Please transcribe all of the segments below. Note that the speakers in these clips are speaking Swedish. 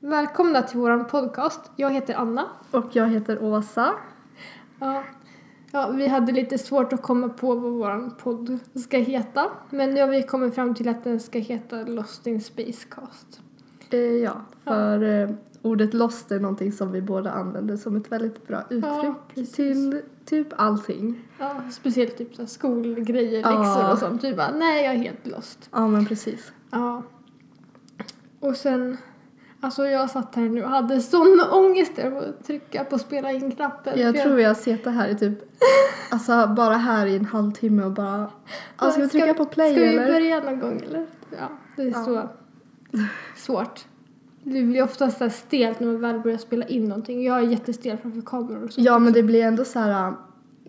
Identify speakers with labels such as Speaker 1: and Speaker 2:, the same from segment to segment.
Speaker 1: Välkomna till vår podcast. Jag heter Anna.
Speaker 2: Och jag heter Åsa.
Speaker 1: Ja. Ja, vi hade lite svårt att komma på vad vår podd ska heta. Men nu har vi kommit fram till att den ska heta Lost in Spacecast.
Speaker 2: Eh, ja, för eh, ordet lost är någonting som vi båda använder som ett väldigt bra uttryck
Speaker 1: precis.
Speaker 2: till typ allting.
Speaker 1: Ja, speciellt typ så här skolgrejer,
Speaker 2: Ja.
Speaker 1: läxor och sånt. Vi bara, nej jag är helt lost.
Speaker 2: Ja, men precis.
Speaker 1: Ja. Och sen, alltså jag satt här nu och hade sån ångest över att trycka på spela in-knappen.
Speaker 2: Jag
Speaker 1: För
Speaker 2: tror jag har suttit här i typ, alltså bara här i en halvtimme och bara, ah, ska vi trycka på play
Speaker 1: Ska
Speaker 2: eller?
Speaker 1: vi börja någon gång eller? Ja, det är
Speaker 2: Ja.
Speaker 1: så svårt. Det blir oftast så här stelt när man väl börjar spela in någonting. Jag är jättestel framför kameror och sånt.
Speaker 2: Ja, men det blir ändå så här, äh,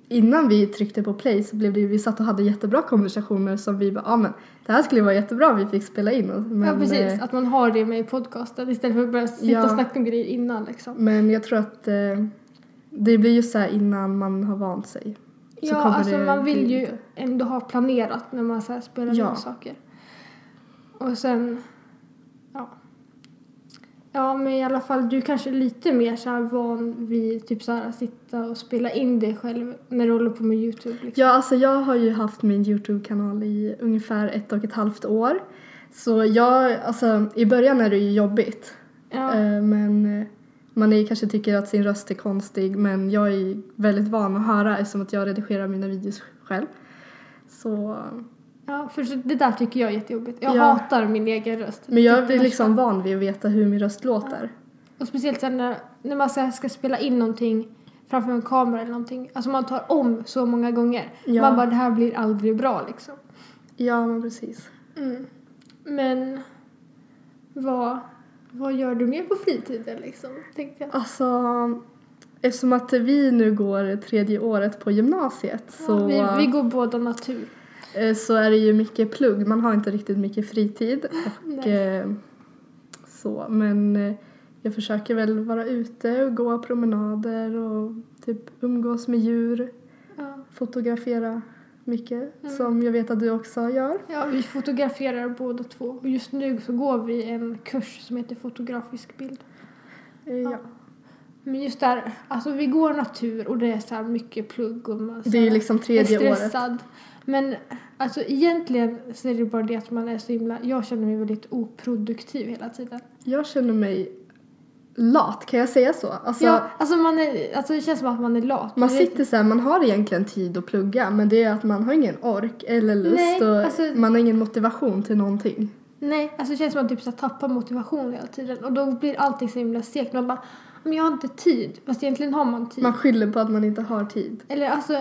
Speaker 2: innan vi tryckte på play så blev det ju, vi satt och hade jättebra konversationer som vi bara, ah, men det här skulle vara jättebra om vi fick spela in. och- Men,
Speaker 1: ja, precis.
Speaker 2: eh,
Speaker 1: Att man har det med i podcasten istället för att börja sitta
Speaker 2: Ja.
Speaker 1: och snacka om grejer innan liksom.
Speaker 2: Men jag tror att eh, det blir ju så här innan man har vant sig. Så
Speaker 1: ja,
Speaker 2: kommer
Speaker 1: alltså
Speaker 2: det
Speaker 1: man vill
Speaker 2: bli
Speaker 1: ju
Speaker 2: lite-
Speaker 1: ändå ha planerat när man så här spelar
Speaker 2: Ja.
Speaker 1: in saker. Och sen, ja. Ja, men i alla fall du kanske är lite mer så här van vid typ så här att sitta och spela in dig själv när du håller på med YouTube liksom.
Speaker 2: Ja, alltså jag har ju haft min Youtube-kanal i ungefär ett och ett halvt år. Så jag, alltså i början är det ju jobbigt.
Speaker 1: Ja.
Speaker 2: Eh, Men eh, man är, kanske tycker att sin röst är konstig men jag är väldigt van att höra eftersom att jag redigerar mina videos själv. Så,
Speaker 1: Ja, för så- det där tycker jag är jättejobbigt. Jag
Speaker 2: Ja.
Speaker 1: hatar min egen röst.
Speaker 2: men jag
Speaker 1: Tycker
Speaker 2: är liksom van vid att veta hur min röst låter.
Speaker 1: Och speciellt sen när, när man så här ska spela in någonting framför en kamera eller någonting. Alltså man tar om så många gånger.
Speaker 2: Ja.
Speaker 1: Man bara, det här blir aldrig bra liksom.
Speaker 2: Ja, men precis.
Speaker 1: Mm. Men vad, vad gör du mer på fritiden liksom? Tänkte jag.
Speaker 2: Alltså, eftersom att vi nu går tredje året på gymnasiet så,
Speaker 1: Ja, vi, vi går båda natur.
Speaker 2: eh, så är det ju mycket plugg. Man har inte riktigt mycket fritid. Och, eh, så, men eh, jag försöker väl vara ute och gå promenader och typ umgås med djur,
Speaker 1: Ja.
Speaker 2: fotografera mycket
Speaker 1: Mm.
Speaker 2: som jag vet att du också gör.
Speaker 1: ja, vi fotograferar båda två. Och just nu så går vi en kurs som heter fotografisk bild.
Speaker 2: Eh, ja.
Speaker 1: Men just där, alltså vi går natur och det är så här mycket plugg och man så
Speaker 2: Det är ju
Speaker 1: här
Speaker 2: liksom
Speaker 1: är
Speaker 2: tredje året.
Speaker 1: stressad. Men alltså egentligen så är det bara det att man är så himla, jag känner mig väldigt oproduktiv hela tiden.
Speaker 2: Jag känner mig lat, kan jag säga så? Alltså,
Speaker 1: ja, alltså, man är, alltså det känns som att man är lat.
Speaker 2: Man
Speaker 1: Det-
Speaker 2: sitter så här, man har egentligen tid att plugga men det är att man har ingen ork eller lust
Speaker 1: Nej,
Speaker 2: och
Speaker 1: alltså-
Speaker 2: man har ingen motivation till någonting.
Speaker 1: Nej, alltså det känns som att man typ så här tappar motivation hela tiden och då blir allting så himla segt. Man bara, men jag har inte tid. Fast egentligen har man tid.
Speaker 2: Man skyller på att man inte har tid.
Speaker 1: Eller alltså,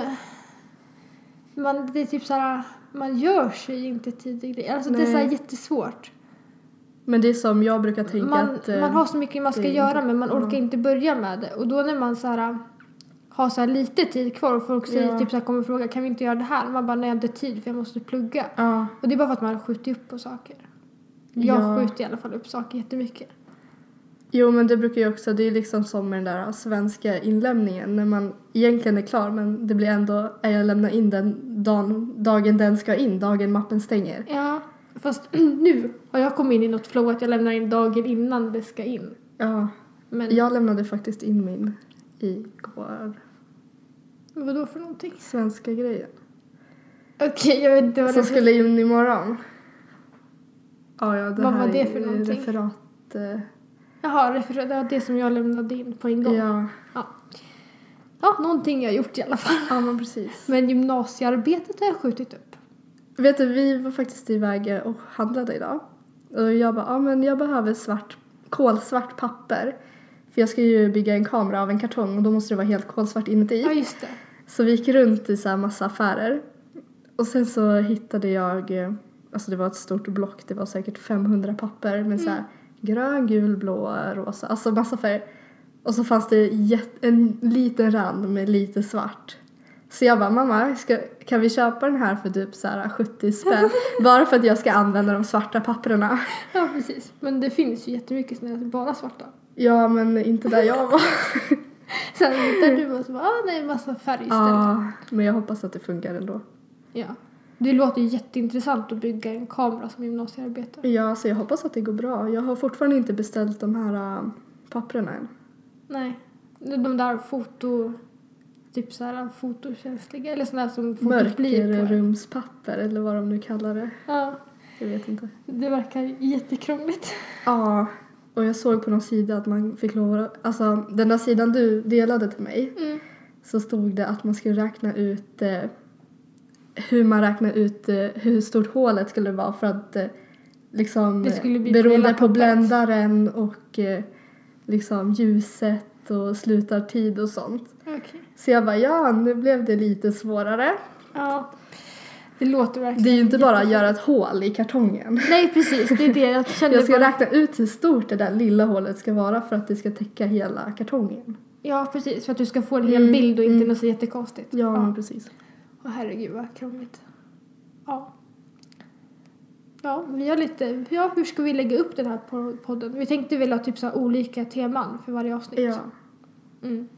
Speaker 1: man, det är typ så här, man gör sig inte tid i grejer. Alltså det är så här
Speaker 2: Nej.
Speaker 1: jättesvårt.
Speaker 2: Men det är som jag brukar tänka
Speaker 1: man,
Speaker 2: att... eh,
Speaker 1: man har så mycket man ska
Speaker 2: det är
Speaker 1: göra
Speaker 2: inte-
Speaker 1: men man
Speaker 2: ja.
Speaker 1: orkar inte börja med det. Och då när man så här, har så här lite tid kvar och folk säger,
Speaker 2: Ja.
Speaker 1: typ så här, kommer och frågar kan vi inte göra det här? Man bara nej jag har inte tid för jag måste plugga.
Speaker 2: Ja,
Speaker 1: Och det är bara för att man skjuter upp på saker. Jag
Speaker 2: Ja.
Speaker 1: skjuter i alla fall upp saker jättemycket.
Speaker 2: jo men det brukar jag också, det är liksom som med den där svenska inlämningen när man egentligen är klar men det blir ändå, "Äh, jag lämnar in den dagen, dagen den ska in, dagen mappen stänger.
Speaker 1: Ja, fast nu har jag kommit in i något flow att jag lämnar in dagen innan det ska in.
Speaker 2: Ja,
Speaker 1: Men
Speaker 2: jag lämnade faktiskt in min igår,
Speaker 1: vad då för någonting?
Speaker 2: svenska grejen.
Speaker 1: Okej, jag vet inte vad
Speaker 2: som
Speaker 1: det
Speaker 2: skulle in imorgon. Ja, ja, det
Speaker 1: Vad
Speaker 2: här
Speaker 1: var det
Speaker 2: är
Speaker 1: för någonting?
Speaker 2: Referat. eh,
Speaker 1: Jaha, referat- det var det som jag lämnade in på en gång. Ja,
Speaker 2: Ja,
Speaker 1: ja någonting jag har gjort i alla fall.
Speaker 2: ja men precis.
Speaker 1: Men gymnasiearbetet har jag skjutit upp.
Speaker 2: Vet du, vi var faktiskt iväg eh, och handlade idag. Och jag bara, ja men jag behöver svart, kolsvart papper. För jag ska ju bygga en kamera av en kartong och då måste det vara helt kolsvart inuti.
Speaker 1: Ja, just det.
Speaker 2: Så vi gick runt i så här massa affärer. Och sen så hittade jag, eh, alltså det var ett stort block, det var säkert 500 papper med så här grön, gul, blå, rosa, alltså massa färger. Och så fanns det jätt, en liten rand med lite svart. Så jag bara, mamma, ska, kan vi köpa den här för typ så här 70 spänn? Bara för att jag ska använda de svarta papperna.
Speaker 1: Ja, precis. Men det finns ju jättemycket sådana här bara svarta.
Speaker 2: Ja, men inte där jag var.
Speaker 1: Sen hittar du och så bara, ah, nej, massa färg istället.
Speaker 2: ja, men jag hoppas att det funkar ändå.
Speaker 1: Ja. Det låter ju jätteintressant att bygga en kamera som gymnasiearbete.
Speaker 2: Ja, så jag hoppas att det går bra. Jag har fortfarande inte beställt de här äh, papperna än.
Speaker 1: Nej. De där foto... Typ så här fotokänsliga eller sådana som fotot blir på.
Speaker 2: Mörkerrumspapper eller vad de nu kallar det.
Speaker 1: Ja,
Speaker 2: Jag vet inte.
Speaker 1: det verkar jättekrångligt.
Speaker 2: Ja, och jag såg på någon sida att man fick lov att, Alltså den där sidan du delade till mig
Speaker 1: Mm.
Speaker 2: så stod det att man skulle räkna ut eh, hur man räknar ut eh, hur stort hålet skulle vara för att eh, liksom
Speaker 1: Det skulle bli på
Speaker 2: beroende
Speaker 1: hela
Speaker 2: på
Speaker 1: pappret.
Speaker 2: bländaren och eh, liksom ljuset och slutartid och sånt.
Speaker 1: Okej.
Speaker 2: Så jag bara ja, nu blev det lite svårare.
Speaker 1: Ja. Det låter verkligen...
Speaker 2: Det är ju inte bara att göra ett hål i kartongen.
Speaker 1: Nej, precis. Det är det jag kände.
Speaker 2: Jag ska
Speaker 1: bara-
Speaker 2: räkna ut hur stort det där lilla hålet ska vara för att det ska täcka hela kartongen.
Speaker 1: Ja, precis. För att du ska få en hel
Speaker 2: Mm,
Speaker 1: bild och inte
Speaker 2: mm.
Speaker 1: något så jättekonstigt.
Speaker 2: men precis.
Speaker 1: Åh, herregud vad krångligt. Ja. Ja, vi har lite... Ja, hur ska vi lägga upp den här po- podden? Vi tänkte väl ha typ så här olika teman för varje avsnitt.
Speaker 2: Ja.
Speaker 1: Mm.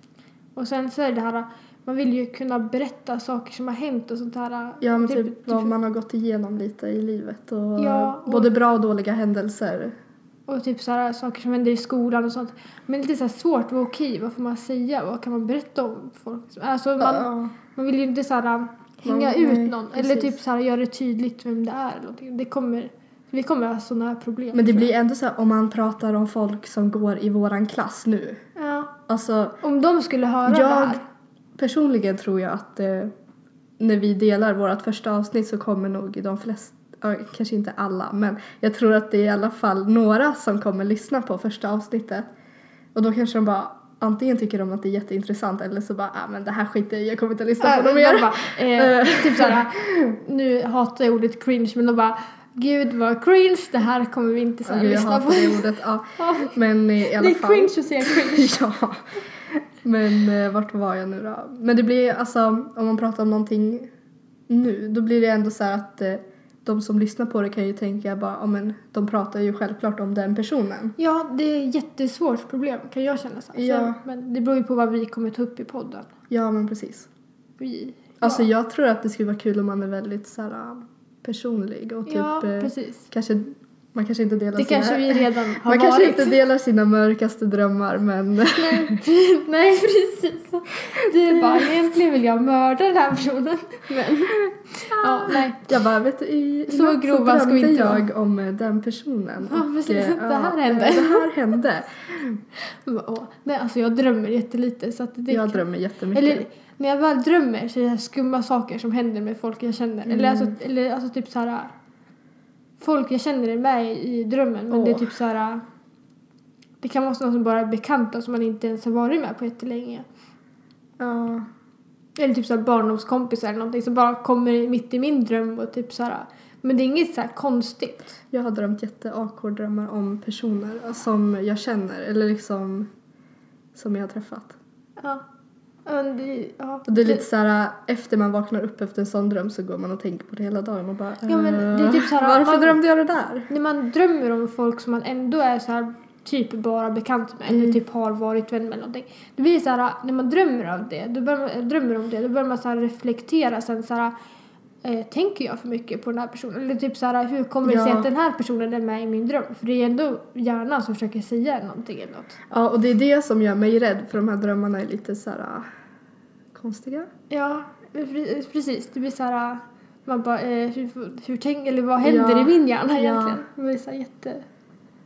Speaker 1: Och sen så är det det här, man vill ju kunna berätta saker som har hänt och sånt här.
Speaker 2: ja, men typ, vad man har gått igenom lite i livet och,
Speaker 1: Ja, och-
Speaker 2: både bra och dåliga händelser.
Speaker 1: Och typ så här, saker som händer i skolan och sånt. Men det är lite så här svårt, vad okej, vad får man säga, vad kan man berätta om folk? Alltså man,
Speaker 2: Ja.
Speaker 1: man vill ju inte så här um, hänga
Speaker 2: Nej,
Speaker 1: ut
Speaker 2: nej,
Speaker 1: någon
Speaker 2: precis.
Speaker 1: eller typ så här göra det tydligt vem det är eller någonting. Det kommer, vi kommer ha sådana här problem.
Speaker 2: Men det
Speaker 1: tror
Speaker 2: blir ändå så här om man pratar om folk som går i våran klass nu.
Speaker 1: jag. Ja.
Speaker 2: Alltså
Speaker 1: Om de skulle höra det
Speaker 2: jag
Speaker 1: här.
Speaker 2: personligen tror jag att eh, när vi delar vårt första avsnitt så kommer nog de flesta ja, Kanske inte alla, men jag tror att det är i alla fall några som kommer lyssna på första avsnittet. Och då kanske de bara antingen tycker de att det är jätteintressant eller så bara ah, men det här skiter jag i, jag kommer inte lyssna på
Speaker 1: Äh,
Speaker 2: dem
Speaker 1: de
Speaker 2: mer.
Speaker 1: bara, eh, typ såhär, nu hatar jag ordet cringe men de bara Gud vad cringe, det här kommer vi inte såhär
Speaker 2: Gud, jag
Speaker 1: lyssna
Speaker 2: hatar
Speaker 1: på.
Speaker 2: det ordet. Ja.
Speaker 1: Ja.
Speaker 2: Men eh, i alla
Speaker 1: Det är
Speaker 2: fall.
Speaker 1: cringe att säga cringe.
Speaker 2: ja. Men eh, vart var jag nu då? Men det blir alltså om man pratar om någonting nu då blir det ändå så här att eh, de som lyssnar på det kan ju tänka bara ja men de pratar ju självklart om den personen.
Speaker 1: Ja, det är ett jättesvårt problem kan jag känna. Så här.
Speaker 2: Ja.
Speaker 1: Så, men det beror ju på vad vi kommer ta upp i podden.
Speaker 2: Ja men precis.
Speaker 1: Vi,
Speaker 2: Alltså
Speaker 1: ja,
Speaker 2: jag tror att det skulle vara kul om man är väldigt så här eh, personlig och typ
Speaker 1: ja,
Speaker 2: eh,
Speaker 1: precis.
Speaker 2: kanske man kanske inte delar
Speaker 1: Det
Speaker 2: sina
Speaker 1: kanske vi redan har
Speaker 2: man
Speaker 1: varit.
Speaker 2: kanske inte delar sina mörkaste drömmar men
Speaker 1: Nej, Nej, precis. Du är bara, egentligen vill jag mörda den här personen. Men, ja, nej.
Speaker 2: Jag bara, vet du, i,
Speaker 1: Så
Speaker 2: i natt
Speaker 1: grova
Speaker 2: drömde
Speaker 1: ska vi inte vara.
Speaker 2: jag om eh, den personen.
Speaker 1: Ja, precis.
Speaker 2: eh,
Speaker 1: Det
Speaker 2: ja,
Speaker 1: här hände.
Speaker 2: eh, Det här hände.
Speaker 1: Jag bara, åh. Nej, alltså jag drömmer jättelite så att det
Speaker 2: Jag drömmer jättemycket.
Speaker 1: Eller när jag väl drömmer så är det här skumma saker som händer med folk jag känner. Eller, alltså, eller alltså typ så här. Folk jag känner är med i drömmen men det är
Speaker 2: Åh.
Speaker 1: typ så här. Det kan vara sådana som bara är bekanta som man inte ens har varit med på jättelänge.
Speaker 2: ja.
Speaker 1: Eller typ så här barndomskompisar eller någonting som bara kommer mitt i min dröm och typ så här. Men det är inget så här konstigt.
Speaker 2: Jag har drömt jätteawkward drömmar om personer eh, som jag känner eller liksom som jag har träffat.
Speaker 1: Ja. Men det, ja.
Speaker 2: Och det är lite så här, eh, efter man vaknar upp efter en sån dröm så går man och tänker på det hela dagen och bara
Speaker 1: Ja, men det är
Speaker 2: eh,
Speaker 1: typ så här,
Speaker 2: Varför
Speaker 1: man-
Speaker 2: drömde jag det där?
Speaker 1: När man drömmer om folk som man ändå är så här typ bara bekant med eller typ har varit vän med någonting. Det blir så här, när man drömmer om det, då börjar man, eller drömmer om det, då börjar man så här reflektera sen så här eh, tänker jag för mycket på den här personen? Eller typ så här, hur kommer det sig
Speaker 2: Ja.
Speaker 1: att den här personen är med i min dröm? För det är ändå hjärnan som försöker säga någonting eller något.
Speaker 2: Ja, och det är det som gör mig rädd för de här drömmarna är lite så här eh, konstiga.
Speaker 1: Ja, Eh, pre- precis. Det blir så här, man bara, eh, hur, hur tänk, eller vad händer
Speaker 2: Ja.
Speaker 1: i min hjärna
Speaker 2: Ja.
Speaker 1: egentligen? Det blir så här jätte...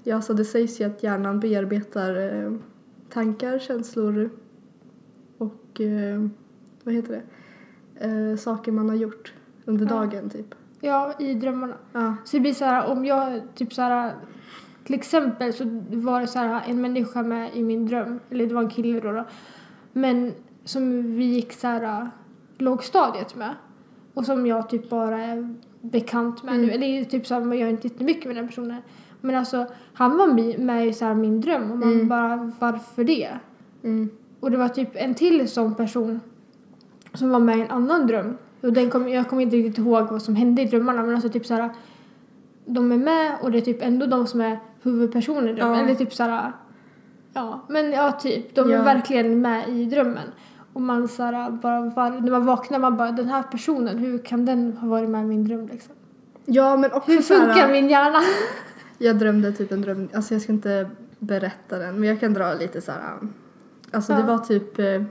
Speaker 2: Ja, så det sägs ju att hjärnan bearbetar eh, tankar, känslor och eh, vad heter det? Eh, saker man har gjort under
Speaker 1: Ja.
Speaker 2: dagen typ.
Speaker 1: Ja, i drömmarna.
Speaker 2: Ja.
Speaker 1: Så det blir så här om jag typ så här till exempel så var det så här en människa med i min dröm, eller det var en kille då, då men som vi gick så här lågstadiet med och som jag typ bara är bekant med nu. Eller typ så här, man gör inte jättemycket med den personen. Men alltså han var mi- med i så här min dröm och man
Speaker 2: Mm.
Speaker 1: bara varför det?
Speaker 2: Mm.
Speaker 1: Och det var typ en till sån person som var med i en annan dröm. Och den kom, jag kommer inte riktigt ihåg vad som hände i drömmarna men alltså typ såhär de är med och det är typ ändå de som är huvudpersoner i drömmen.
Speaker 2: Ja.
Speaker 1: Eller typ såhär ja men ja typ de
Speaker 2: Ja.
Speaker 1: är verkligen med i drömmen. Och man så här, bara, var, när man vaknar man bara den här personen, hur kan den ha varit med i min dröm liksom?
Speaker 2: Ja men också
Speaker 1: Hur
Speaker 2: så här- eh,
Speaker 1: funkar min hjärna?
Speaker 2: Jag drömde typ en dröm, alltså jag ska inte berätta den men jag kan dra lite så här. um, Alltså det
Speaker 1: Ja.
Speaker 2: var typ, eh,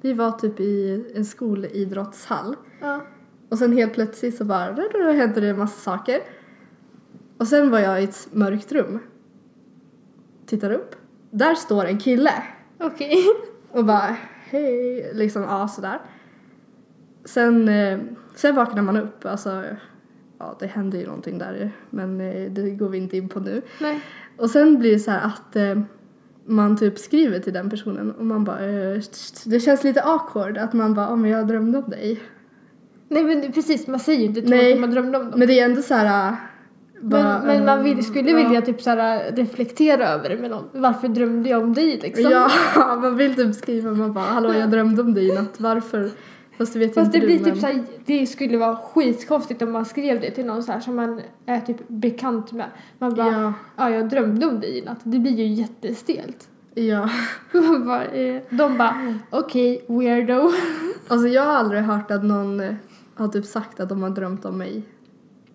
Speaker 2: vi var typ i en skolidrottshall
Speaker 1: ja.
Speaker 2: och sen helt plötsligt så bara då, då, då hände det en massa saker. Och sen var jag i ett mörkt rum. Tittar upp. Där står en kille
Speaker 1: Okej.
Speaker 2: och bara hej, liksom ja sådär. Sen, eh, sen vaknar man upp, alltså ja det hände ju någonting där men eh, det går vi inte in på nu.
Speaker 1: Nej.
Speaker 2: Och sen blir det så här att eh, man typ skriver till den personen och man bara eh, det känns lite awkward att man bara, oh, men jag drömde om dig.
Speaker 1: Nej men precis, man säger ju inte till
Speaker 2: Nej.
Speaker 1: folk att man drömde om dem.
Speaker 2: Men det är ändå så här eh, bara,
Speaker 1: Men, men
Speaker 2: eh,
Speaker 1: man vill, skulle
Speaker 2: ja.
Speaker 1: vilja typ så här, reflektera över det med någon. Varför drömde jag om dig liksom?
Speaker 2: Ja, man vill typ skriva man bara hallå jag drömde om dig i natt, varför? Fast det vet
Speaker 1: Fast
Speaker 2: inte
Speaker 1: det blir
Speaker 2: du,
Speaker 1: typ
Speaker 2: men-
Speaker 1: såhär, det skulle vara skitkonstigt om man skrev det till någon så här som man är typ bekant med. Man bara, ja,
Speaker 2: Ja,
Speaker 1: jag drömde om dig i natt. Det blir ju jättestelt.
Speaker 2: ja.
Speaker 1: Man bara, eh, de
Speaker 2: Mm.
Speaker 1: bara, okej, weirdo.
Speaker 2: Alltså jag har aldrig hört att någon eh, har typ sagt att de har drömt om mig.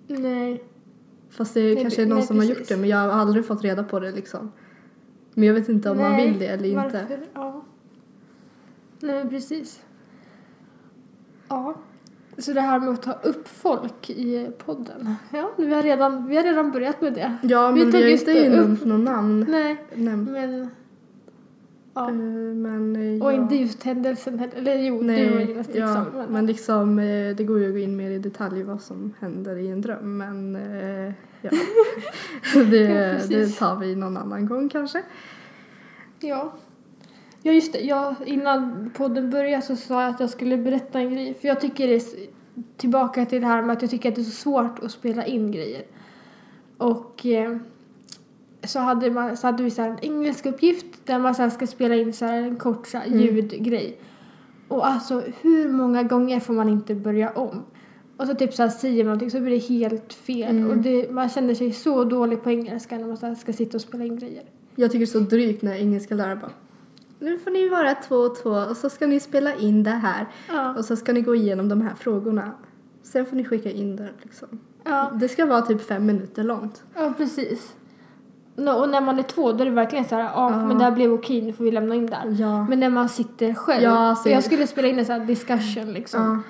Speaker 1: Nej.
Speaker 2: Fast det
Speaker 1: Nej,
Speaker 2: kanske är någon
Speaker 1: nej,
Speaker 2: som har gjort
Speaker 1: precis.
Speaker 2: det men jag har aldrig fått reda på det liksom. Men jag vet inte om man
Speaker 1: Nej,
Speaker 2: vill det eller inte.
Speaker 1: Varför? Ja. Nej, men precis. Ja. Så det här med att ta upp folk i podden. Ja, vi har redan, vi har redan börjat med det.
Speaker 2: Ja,
Speaker 1: Vi
Speaker 2: men vi,
Speaker 1: tog
Speaker 2: har
Speaker 1: just
Speaker 2: inte
Speaker 1: upp-
Speaker 2: nämnt något namn.
Speaker 1: Nej,
Speaker 2: Nämnt.
Speaker 1: men... Ja.
Speaker 2: Eh, Men, eh,
Speaker 1: Och
Speaker 2: ja.
Speaker 1: inte just händelsen heller. Eller jo, du var
Speaker 2: Nej,
Speaker 1: ju nästan
Speaker 2: ja,
Speaker 1: examen.
Speaker 2: men liksom eh, det går ju att gå in mer i detalj vad som händer i en dröm men eh, ja. det,
Speaker 1: Ja, precis.
Speaker 2: det tar vi någon annan gång kanske.
Speaker 1: Ja. Ja, just det. Jag, innan podden började så sa jag att jag skulle berätta en grej. För jag tycker det är s- tillbaka till det här med att jag tycker att det är så svårt att spela in grejer. Och eh, så, hade man, så hade vi så här en engelsk uppgift där man så här ska spela in så här en kort så här
Speaker 2: Mm.
Speaker 1: ljudgrej. Och alltså hur många gånger får man inte börja om? Och så typ så här säger man någonting så blir det helt fel.
Speaker 2: Mm.
Speaker 1: Och det, man känner sig så dålig på engelska när man så här ska sitta och spela in grejer.
Speaker 2: Jag tycker det är så drygt när engelska lärare bara nu får ni vara två och två och så ska ni spela in det här
Speaker 1: Ja.
Speaker 2: och så ska ni gå igenom de här frågorna. Sen får ni skicka in det liksom.
Speaker 1: Ja,
Speaker 2: Det ska vara typ fem minuter långt.
Speaker 1: ja precis. Nå, och när man är två då är det verkligen så här, ja
Speaker 2: Ja.
Speaker 1: men det här blev okej, nu får vi lämna in det här.
Speaker 2: Ja.
Speaker 1: Men när man sitter själv,
Speaker 2: Ja, så-
Speaker 1: och jag skulle spela in en så här discussion liksom,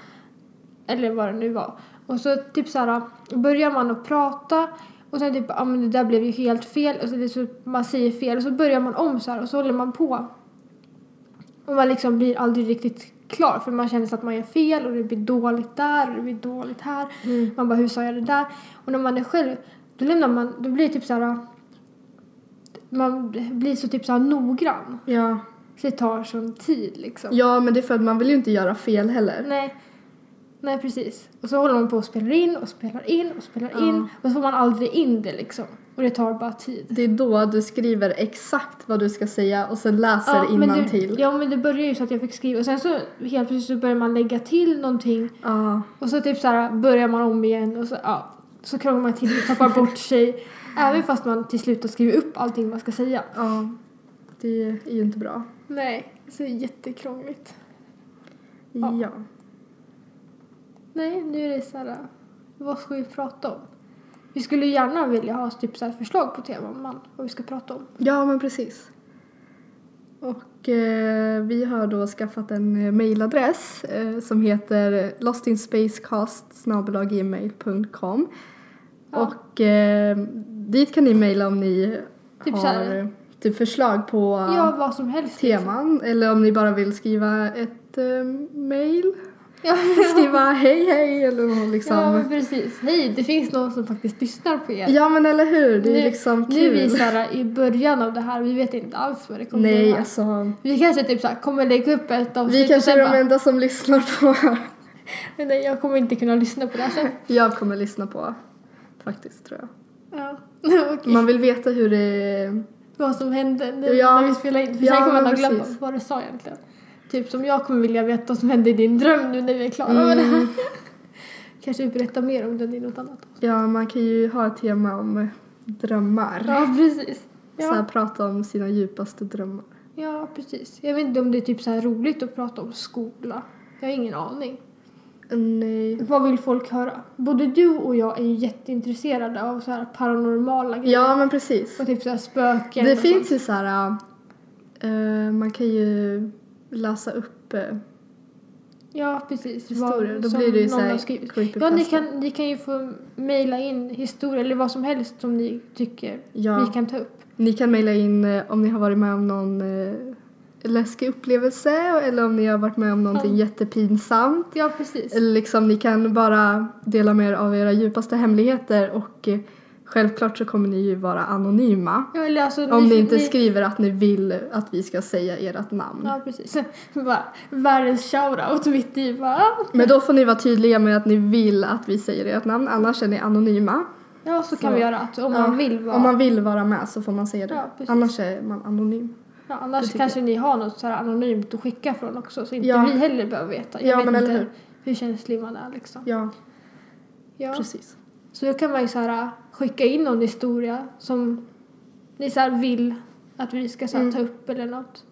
Speaker 2: ja.
Speaker 1: eller vad det nu var. Och så typ så här, börjar man att prata och sen typ, ja men det där blev ju helt fel och så, det är så man säger fel och så börjar man om så här och så håller man på. Och man liksom blir aldrig riktigt klar för man känner sig att man gör fel och det blir dåligt där och det blir dåligt här.
Speaker 2: Mm.
Speaker 1: Man bara, hur sa jag det där? Och när man är själv, då lämnar man, då blir det typ så här. Man blir så typ så här noggrann.
Speaker 2: ja.
Speaker 1: Så det tar sån tid liksom.
Speaker 2: Ja, men det är för att man vill ju inte göra fel heller.
Speaker 1: Nej. Nej, precis. Och så håller man på och spelar in och spelar in och spelar
Speaker 2: Ja.
Speaker 1: in. Och så får man aldrig in det liksom. Och det tar bara tid.
Speaker 2: Det är då du skriver exakt vad du ska säga och sen läser
Speaker 1: men det,
Speaker 2: innantill.
Speaker 1: ja, men det började ju så att jag fick skriva. Och sen så helt plötsligt så börjar man lägga till någonting.
Speaker 2: Ja.
Speaker 1: Och så typ så här börjar man om igen och så, ja, så krånglar man till och tappar bort sig. Även fast man till slut har skrivit upp allting man ska säga.
Speaker 2: ja. Det är ju inte bra.
Speaker 1: Nej, så det är jättekrångligt.
Speaker 2: Ja.
Speaker 1: Ja. Nej, nu är det så här, vad ska vi prata om? Vi skulle ju gärna vilja ha typ så här förslag på teman, man, vad vi ska prata om.
Speaker 2: Ja, men precis. Och eh, vi har då skaffat en eh, mailadress eh, som heter lostinsspacecast.gmail.com
Speaker 1: Ja.
Speaker 2: Och eh, dit kan ni mejla om ni
Speaker 1: Typ så
Speaker 2: har
Speaker 1: här-
Speaker 2: eh, typ förslag på
Speaker 1: Ja, vad som helst. liksom.
Speaker 2: teman eller om ni bara vill skriva ett eh, mejl.
Speaker 1: Ja,
Speaker 2: Skriva hej hej eller något
Speaker 1: ja, men
Speaker 2: liksom.
Speaker 1: precis. Hej, det finns någon som faktiskt lyssnar på er.
Speaker 2: Ja men eller hur, det är
Speaker 1: Nu-
Speaker 2: liksom
Speaker 1: Nu är vi
Speaker 2: kul.
Speaker 1: så här, i början av det här, vi vet inte alls vad det kommer bli
Speaker 2: Nej
Speaker 1: här.
Speaker 2: alltså.
Speaker 1: Vi kanske typ så här, kommer lägga upp ett avsnitt
Speaker 2: Vi
Speaker 1: och
Speaker 2: kanske
Speaker 1: sen
Speaker 2: är
Speaker 1: bara,
Speaker 2: de enda som lyssnar på.
Speaker 1: men nej, jag kommer inte kunna lyssna på det här sen.
Speaker 2: Jag kommer lyssna på faktiskt tror jag.
Speaker 1: Ja, okej.
Speaker 2: Man vill veta hur det...
Speaker 1: Vad som hände när,
Speaker 2: Ja.
Speaker 1: när vi spelade in. För
Speaker 2: Ja,
Speaker 1: sen kommer
Speaker 2: men
Speaker 1: man ha glömt
Speaker 2: precis.
Speaker 1: vad du sa egentligen. Typ som jag kommer vilja veta vad som hände i din dröm nu när vi är klara med det
Speaker 2: Mm.
Speaker 1: här. Kanske berätta mer om den i något annat.
Speaker 2: Ja man kan ju ha ett tema om drömmar.
Speaker 1: Ja, precis.
Speaker 2: Så här,
Speaker 1: Ja,
Speaker 2: prata om sina djupaste drömmar.
Speaker 1: Ja, precis. Jag vet inte om det är typ så här roligt att prata om skola. Jag har ingen aning.
Speaker 2: Nej.
Speaker 1: Vad vill folk höra? Både du och jag är ju jätteintresserade av så här paranormala grejer.
Speaker 2: Ja, men precis.
Speaker 1: Och typ så här spöken.
Speaker 2: Det
Speaker 1: och
Speaker 2: finns
Speaker 1: sånt.
Speaker 2: ju så här... eh, man kan ju läsa upp eh,
Speaker 1: Ja, precis.
Speaker 2: historier.
Speaker 1: Vad
Speaker 2: Då
Speaker 1: som
Speaker 2: blir det ju så
Speaker 1: någon har
Speaker 2: här
Speaker 1: skrivit.
Speaker 2: creepypasta.
Speaker 1: Ja, ni kan, ni kan ju få mejla in historier eller vad som helst som ni tycker
Speaker 2: Ja.
Speaker 1: vi kan ta upp.
Speaker 2: Ni kan mejla in eh, om ni har varit med om någon eh, läskig upplevelse eller om ni har varit med om någonting jättepinsamt.
Speaker 1: Ja, precis.
Speaker 2: Eller liksom, ni kan bara dela med er av era djupaste hemligheter och eh, självklart så kommer ni ju vara anonyma.
Speaker 1: Ja, eller alltså,
Speaker 2: Om ni inte
Speaker 1: ni-
Speaker 2: skriver att ni vill att vi ska säga ert namn.
Speaker 1: Ja, precis. Bara, Världens shoutout mitt i bara.
Speaker 2: Men då får ni vara tydliga med att ni vill att vi säger ert namn, annars är ni anonyma.
Speaker 1: Ja, så, kan
Speaker 2: Så.
Speaker 1: vi göra. Att om
Speaker 2: Ja,
Speaker 1: man vill vara...
Speaker 2: Om man vill vara med så får man säga det.
Speaker 1: Ja, precis.
Speaker 2: annars är man anonym.
Speaker 1: Ja,
Speaker 2: Det
Speaker 1: annars
Speaker 2: tycker
Speaker 1: kanske ni har något så här anonymt att skicka från också så inte
Speaker 2: Ja.
Speaker 1: vi heller behöver veta.
Speaker 2: Ja,
Speaker 1: Jag vet
Speaker 2: men
Speaker 1: inte
Speaker 2: eller hur?
Speaker 1: hur känslig man är liksom.
Speaker 2: Ja,
Speaker 1: Ja.
Speaker 2: precis.
Speaker 1: Så då kan man ju så här, äh, skicka in någon historia som ni så här vill att vi ska så här,
Speaker 2: Mm.
Speaker 1: ta upp eller något.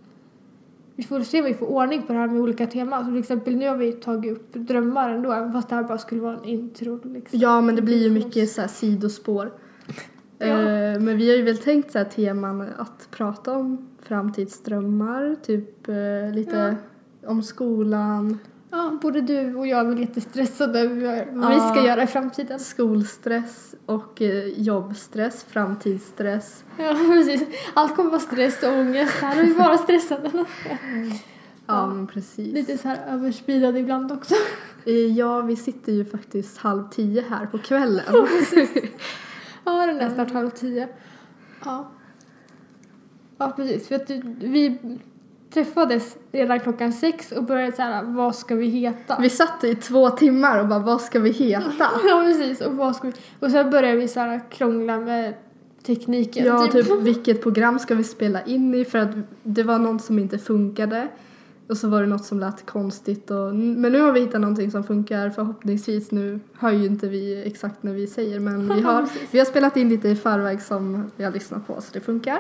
Speaker 1: Vi får se om vi får ordning på det här med olika teman. Så till exempel nu har vi tagit upp drömmar ändå även fast det här bara skulle vara en intro. Liksom.
Speaker 2: Ja, men det blir ju mycket så här sidospår.
Speaker 1: Ja.
Speaker 2: Eh, Men vi har ju väl tänkt så här teman att prata om framtidsdrömmar, typ eh, lite om skolan,
Speaker 1: Ja, både du och jag är väl lite stressade över vad vi
Speaker 2: Ja.
Speaker 1: ska göra i framtiden.
Speaker 2: skolstress och eh, jobbstress, framtidsstress.
Speaker 1: Ja, precis. Allt kommer vara stress och ångest. Här är vi bara stressade.
Speaker 2: Ja, men precis.
Speaker 1: Lite så här överspridad ibland också.
Speaker 2: Eh, Ja, vi sitter ju faktiskt halv tio här på kvällen.
Speaker 1: Ja, den är snart halv tio. Ja. Ja, precis. För att du- vi träffades redan klockan sex och började så här, vad ska vi heta?
Speaker 2: Vi satt i två timmar och bara, vad ska vi heta?
Speaker 1: Ja, precis. Och, vad ska vi... och sen började vi så här krångla med tekniken.
Speaker 2: Ja, typ vilket program ska vi spela in i? För att det var något som inte funkade. Och så var det något som lät konstigt. Och, men nu har vi hittat någonting som funkar förhoppningsvis. Nu hör ju inte vi exakt när vi säger men vi har, vi har spelat in lite i förväg som vi har lyssnat på så det funkar.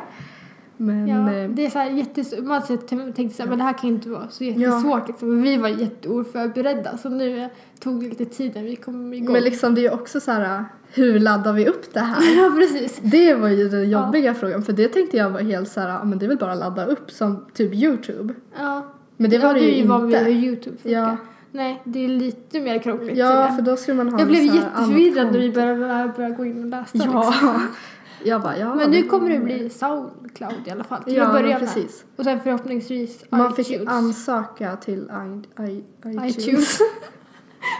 Speaker 2: Men
Speaker 1: Ja,
Speaker 2: eh,
Speaker 1: det är så här jättes... Man så t- tänkte så här, men det här kan ju inte vara så jättesvårt liksom. Men Vi var jätteoförberedda så nu eh, tog det lite tid när vi kom igång.
Speaker 2: men liksom det är ju också så här, hur laddar vi upp det här?
Speaker 1: ja, precis.
Speaker 2: Det var ju den jobbiga frågan för det tänkte jag var helt så här, ja, men det är väl bara att ladda upp som typ Youtube.
Speaker 1: Ja.
Speaker 2: Men det var det ju inte.
Speaker 1: vad vi- hur Youtube funkar.
Speaker 2: Ja.
Speaker 1: Nej, det är lite mer krångligt.
Speaker 2: Ja,
Speaker 1: tycker
Speaker 2: för då skulle man ha
Speaker 1: jag. jag
Speaker 2: en
Speaker 1: blev
Speaker 2: så här
Speaker 1: jätteförvirrad när
Speaker 2: annan
Speaker 1: vi började, började gå in och läsa.
Speaker 2: Ja.
Speaker 1: liksom.
Speaker 2: Jag bara, ja.
Speaker 1: Men nu kommer det bli Soundcloud i alla fall. Till
Speaker 2: Ja,
Speaker 1: att
Speaker 2: men
Speaker 1: börja med.
Speaker 2: precis.
Speaker 1: Och sen förhoppningsvis
Speaker 2: Man
Speaker 1: iTunes.
Speaker 2: fick ju ansöka till I, I, iTunes.
Speaker 1: iTunes.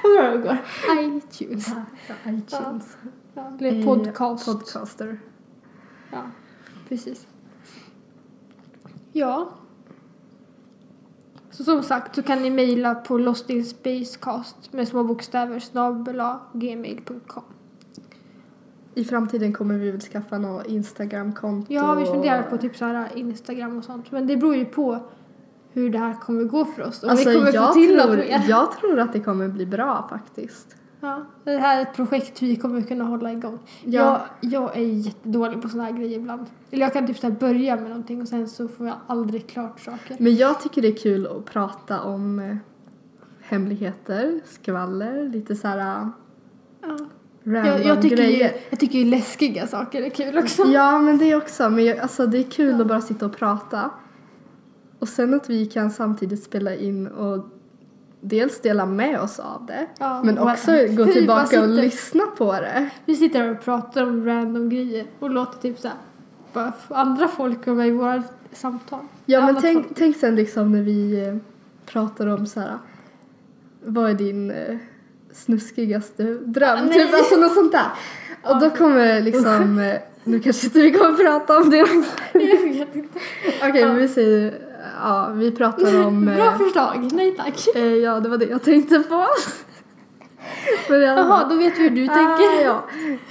Speaker 1: Hur bra det går. iTunes.
Speaker 2: Ja, iTunes.
Speaker 1: Ja, eller podcast.
Speaker 2: Eh, Podcaster.
Speaker 1: Ja, precis. Ja. Så som sagt så kan ni mejla på lostinsspacecast med små bokstäver snabel gmail.com.
Speaker 2: I framtiden kommer vi väl skaffa något Instagram-konto.
Speaker 1: Ja, vi
Speaker 2: och-
Speaker 1: funderar på typ så här Instagram och sånt. Men det beror ju på hur det här kommer gå för oss. Om
Speaker 2: Alltså,
Speaker 1: vi kommer
Speaker 2: jag
Speaker 1: få till
Speaker 2: tror,
Speaker 1: något mer.
Speaker 2: Jag tror att det kommer bli bra faktiskt.
Speaker 1: Ja, det här är ett projekt vi kommer kunna hålla igång.
Speaker 2: Ja.
Speaker 1: Jag, jag är jättedålig på såna här grejer ibland. Eller jag kan typ så här börja med någonting och sen så får jag aldrig klart saker.
Speaker 2: Men jag tycker det är kul att prata om eh, hemligheter, skvaller, lite så här eh,
Speaker 1: Ja.
Speaker 2: random
Speaker 1: Jag, jag, tycker ju,
Speaker 2: grejer.
Speaker 1: jag tycker ju läskiga saker är kul också.
Speaker 2: Ja, men det också. Men jag, alltså, det är kul att bara sitta och prata. Och sen att vi kan samtidigt spela in och dels dela med oss av det
Speaker 1: Ja,
Speaker 2: men
Speaker 1: och-
Speaker 2: också
Speaker 1: vi
Speaker 2: gå
Speaker 1: bara
Speaker 2: tillbaka och
Speaker 1: sitter-
Speaker 2: lyssna på det.
Speaker 1: Vi sitter här och pratar om random grejer och låter typ så här, bara f- andra folk vara med i våra samtal.
Speaker 2: Ja, men
Speaker 1: Annat
Speaker 2: tänk,
Speaker 1: folk.
Speaker 2: tänk sen liksom när vi eh, pratar om så här, vad är din eh, snuskigaste dröm?
Speaker 1: Ah,
Speaker 2: typ
Speaker 1: nej.
Speaker 2: alltså något sånt där. Och då kommer liksom, eh, nu kanske inte vi kommer prata om det. Okej,
Speaker 1: Jag vet inte.
Speaker 2: men vi säger, ja, vi pratar om... eh,
Speaker 1: Bra förslag, nej tack.
Speaker 2: Eh, ja, det var det jag tänkte på. men jag,
Speaker 1: Jaha, då vet vi hur du tänker.
Speaker 2: Ah, ja.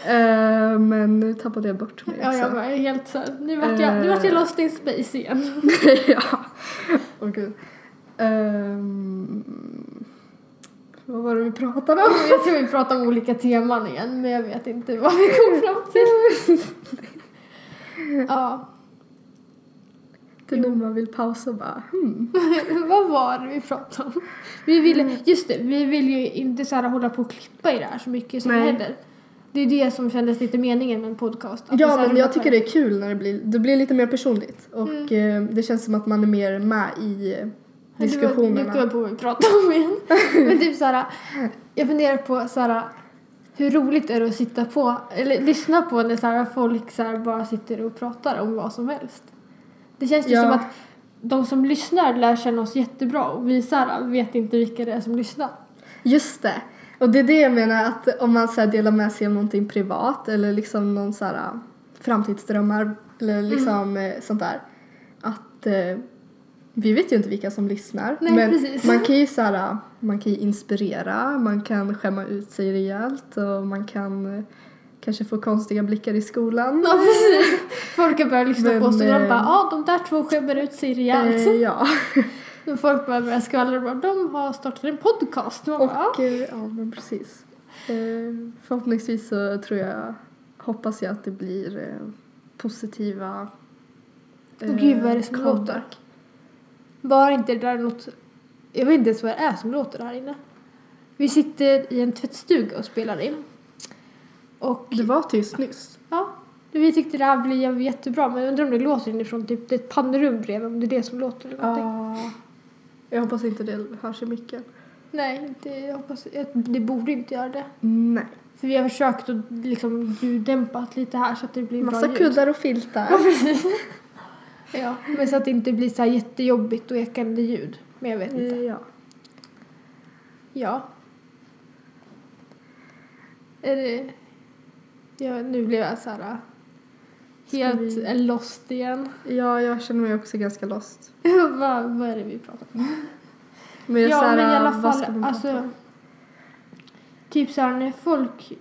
Speaker 2: Eh, men nu tappade jag bort mig
Speaker 1: Ja, jag
Speaker 2: också.
Speaker 1: bara är helt så här, nu vart jag, nu vart jag lost in space igen.
Speaker 2: ja. Åh, gud. Ehm, vad var det vi pratade om?
Speaker 1: Jag tror vi pratar om olika teman igen, men jag vet inte vad vi kom fram till. Ja.
Speaker 2: Det är nu man vill pausa och bara hmm.
Speaker 1: Vad var det vi pratade om? Vi ville, just det, vi vill ju inte så här hålla på och klippa i det här så mycket som
Speaker 2: Nej.
Speaker 1: händer. Det är det som kändes lite meningen med en podcast. att vi så
Speaker 2: Ja
Speaker 1: här
Speaker 2: men
Speaker 1: rullar
Speaker 2: jag
Speaker 1: på
Speaker 2: tycker det är kul när det blir, det blir lite mer personligt och eh, det känns som att man är mer med i eh,
Speaker 1: Men det var- Nu kommer
Speaker 2: diskussionerna.
Speaker 1: jag på vad vi pratade om igen. Men typ såhär, jag funderar på såhär, hur roligt är det att sitta på, eller lyssna på när såhär, folk såhär, bara sitter och pratar om vad som helst. Det känns ju
Speaker 2: Ja.
Speaker 1: som att de som lyssnar lär känna oss jättebra och vi såhär, vet inte vilka det är som lyssnar.
Speaker 2: Just det! Och det är det jag menar att om man så här, delar med sig av någonting privat eller liksom någon så här, eh, framtidsdrömmar eller
Speaker 1: Mm.
Speaker 2: liksom eh, sånt där. Att eh, vi vet ju inte vilka som lyssnar
Speaker 1: Nej,
Speaker 2: men
Speaker 1: precis.
Speaker 2: man kan ju så här, eh, man kan ju inspirera, man kan skämma ut sig rejält och man kan eh, kanske få konstiga blickar i skolan.
Speaker 1: Ja precis! Folk har börjat lyssna
Speaker 2: Men,
Speaker 1: på oss och de bara,
Speaker 2: eh,
Speaker 1: ja de där två skämmer ut sig rejält.
Speaker 2: Eh, ja.
Speaker 1: Men Folk bara börjar skvallra och bara, de har startat en podcast. Man
Speaker 2: Och,
Speaker 1: bara, "Ah, ja.
Speaker 2: eh, ja men precis. Eh, förhoppningsvis så tror jag, hoppas jag att det blir eh, positiva eh,
Speaker 1: Gud, vad är det som låter?
Speaker 2: comeback.
Speaker 1: Bara inte det där är något... Jag vet inte ens vad det är som låter här inne. Vi sitter i en tvättstuga och spelar in. Och
Speaker 2: Det var tyst nyss.
Speaker 1: ja, vi tyckte det här blev jättebra men jag undrar om det låter inifrån typ det är ett pannrum bredvid om det är det som låter eller någonting.
Speaker 2: Ja. Jag hoppas inte det hörs i micken.
Speaker 1: Nej, det, jag hoppas, jag- det borde inte göra det.
Speaker 2: Nej.
Speaker 1: För vi har försökt att liksom ljuddämpat lite här så att det blir
Speaker 2: Massa
Speaker 1: bra ljud.
Speaker 2: kuddar och filtar.
Speaker 1: Ja, precis. ja, men så att det inte blir så här jättejobbigt och ekande ljud. Men jag vet inte.
Speaker 2: Eh, Ja.
Speaker 1: Ja. Är det... Ja, nu blev jag så här... äh,
Speaker 2: Ska
Speaker 1: Helt
Speaker 2: vi-
Speaker 1: vi... lost igen.
Speaker 2: ja, jag känner mig också ganska lost.
Speaker 1: vad, vad är det vi pratar om?
Speaker 2: Men jag är
Speaker 1: ja,
Speaker 2: så här,
Speaker 1: men i alla
Speaker 2: vad ska
Speaker 1: fall,
Speaker 2: man prata
Speaker 1: alltså...
Speaker 2: om?
Speaker 1: Typ så här när folk...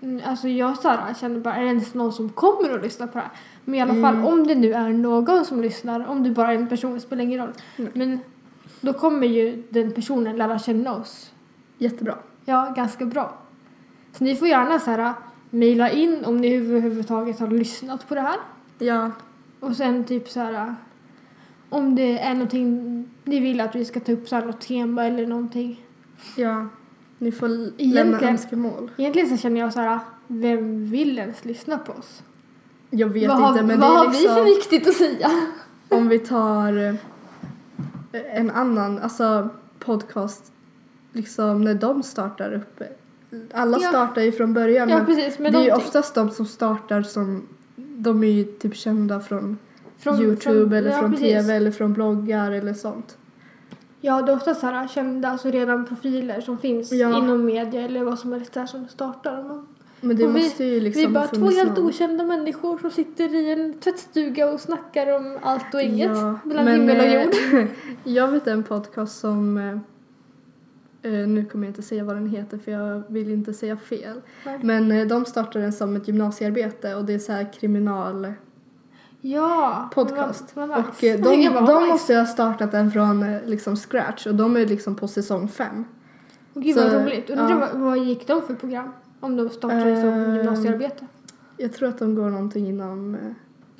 Speaker 1: mm, Alltså jag så här, känner bara, är det ens någon som kommer att lyssna på det här? Men i alla
Speaker 2: Mm.
Speaker 1: fall, om det nu är någon som lyssnar, om det bara är en person, det spelar ingen roll.
Speaker 2: Nej.
Speaker 1: Men då kommer ju den personen lära känna oss.
Speaker 2: Jättebra.
Speaker 1: Ja, ganska bra. Så ni får gärna så här, äh, mejla in om ni överhuvudtaget har lyssnat på det här.
Speaker 2: Ja.
Speaker 1: Och sen typ så här, om det är någonting ni vill att vi ska ta upp, så här, något tema eller någonting.
Speaker 2: Ja. Ni får l- lämna
Speaker 1: Egentligen-
Speaker 2: önskemål.
Speaker 1: Egentligen så känner jag så här, äh, vem vill ens lyssna på oss?
Speaker 2: Jag vet
Speaker 1: vad har,
Speaker 2: inte men
Speaker 1: vad
Speaker 2: det är
Speaker 1: har
Speaker 2: liksom...
Speaker 1: vi för viktigt att säga?
Speaker 2: Om vi tar eh, en annan, alltså podcast, liksom när de startar upp. Alla
Speaker 1: Ja.
Speaker 2: startar ju från början
Speaker 1: Ja,
Speaker 2: men
Speaker 1: precis. Men
Speaker 2: det är ju
Speaker 1: någonting.
Speaker 2: oftast de som startar som, de är ju typ kända från,
Speaker 1: Från-
Speaker 2: Youtube
Speaker 1: från-
Speaker 2: eller
Speaker 1: ja,
Speaker 2: från
Speaker 1: precis.
Speaker 2: TV eller från bloggar eller sånt.
Speaker 1: Ja, det är ofta så här, kända, alltså redan profiler som finns
Speaker 2: Ja.
Speaker 1: inom media eller vad som helst där som startar. Man
Speaker 2: Men det
Speaker 1: Och vi-
Speaker 2: måste ju liksom
Speaker 1: vi är bara
Speaker 2: ha
Speaker 1: två
Speaker 2: funnits
Speaker 1: helt
Speaker 2: någon.
Speaker 1: okända människor som sitter i en tvättstuga och snackar om allt och inget.
Speaker 2: Ja,
Speaker 1: mellan
Speaker 2: men,
Speaker 1: himmel och jord.
Speaker 2: eh, jag vet en podcast som, eh, eh, nu kommer jag inte säga vad den heter för jag vill inte säga fel.
Speaker 1: Nej.
Speaker 2: Men eh, de startade den som ett gymnasiearbete och det är så här kriminal
Speaker 1: Ja.
Speaker 2: podcast.
Speaker 1: Vad, vad nice.
Speaker 2: Och eh,
Speaker 1: Jag
Speaker 2: de,
Speaker 1: tycker
Speaker 2: de
Speaker 1: vad nice.
Speaker 2: måste ju ha startat den från eh, liksom scratch och de är liksom på säsong fem.
Speaker 1: Och Gud vad
Speaker 2: så,
Speaker 1: roligt. Undrar
Speaker 2: ja.
Speaker 1: vad, vad gick de för program? Om de startade
Speaker 2: Ehm,
Speaker 1: som gymnasiearbete.
Speaker 2: Jag tror att de går någonting inom eh,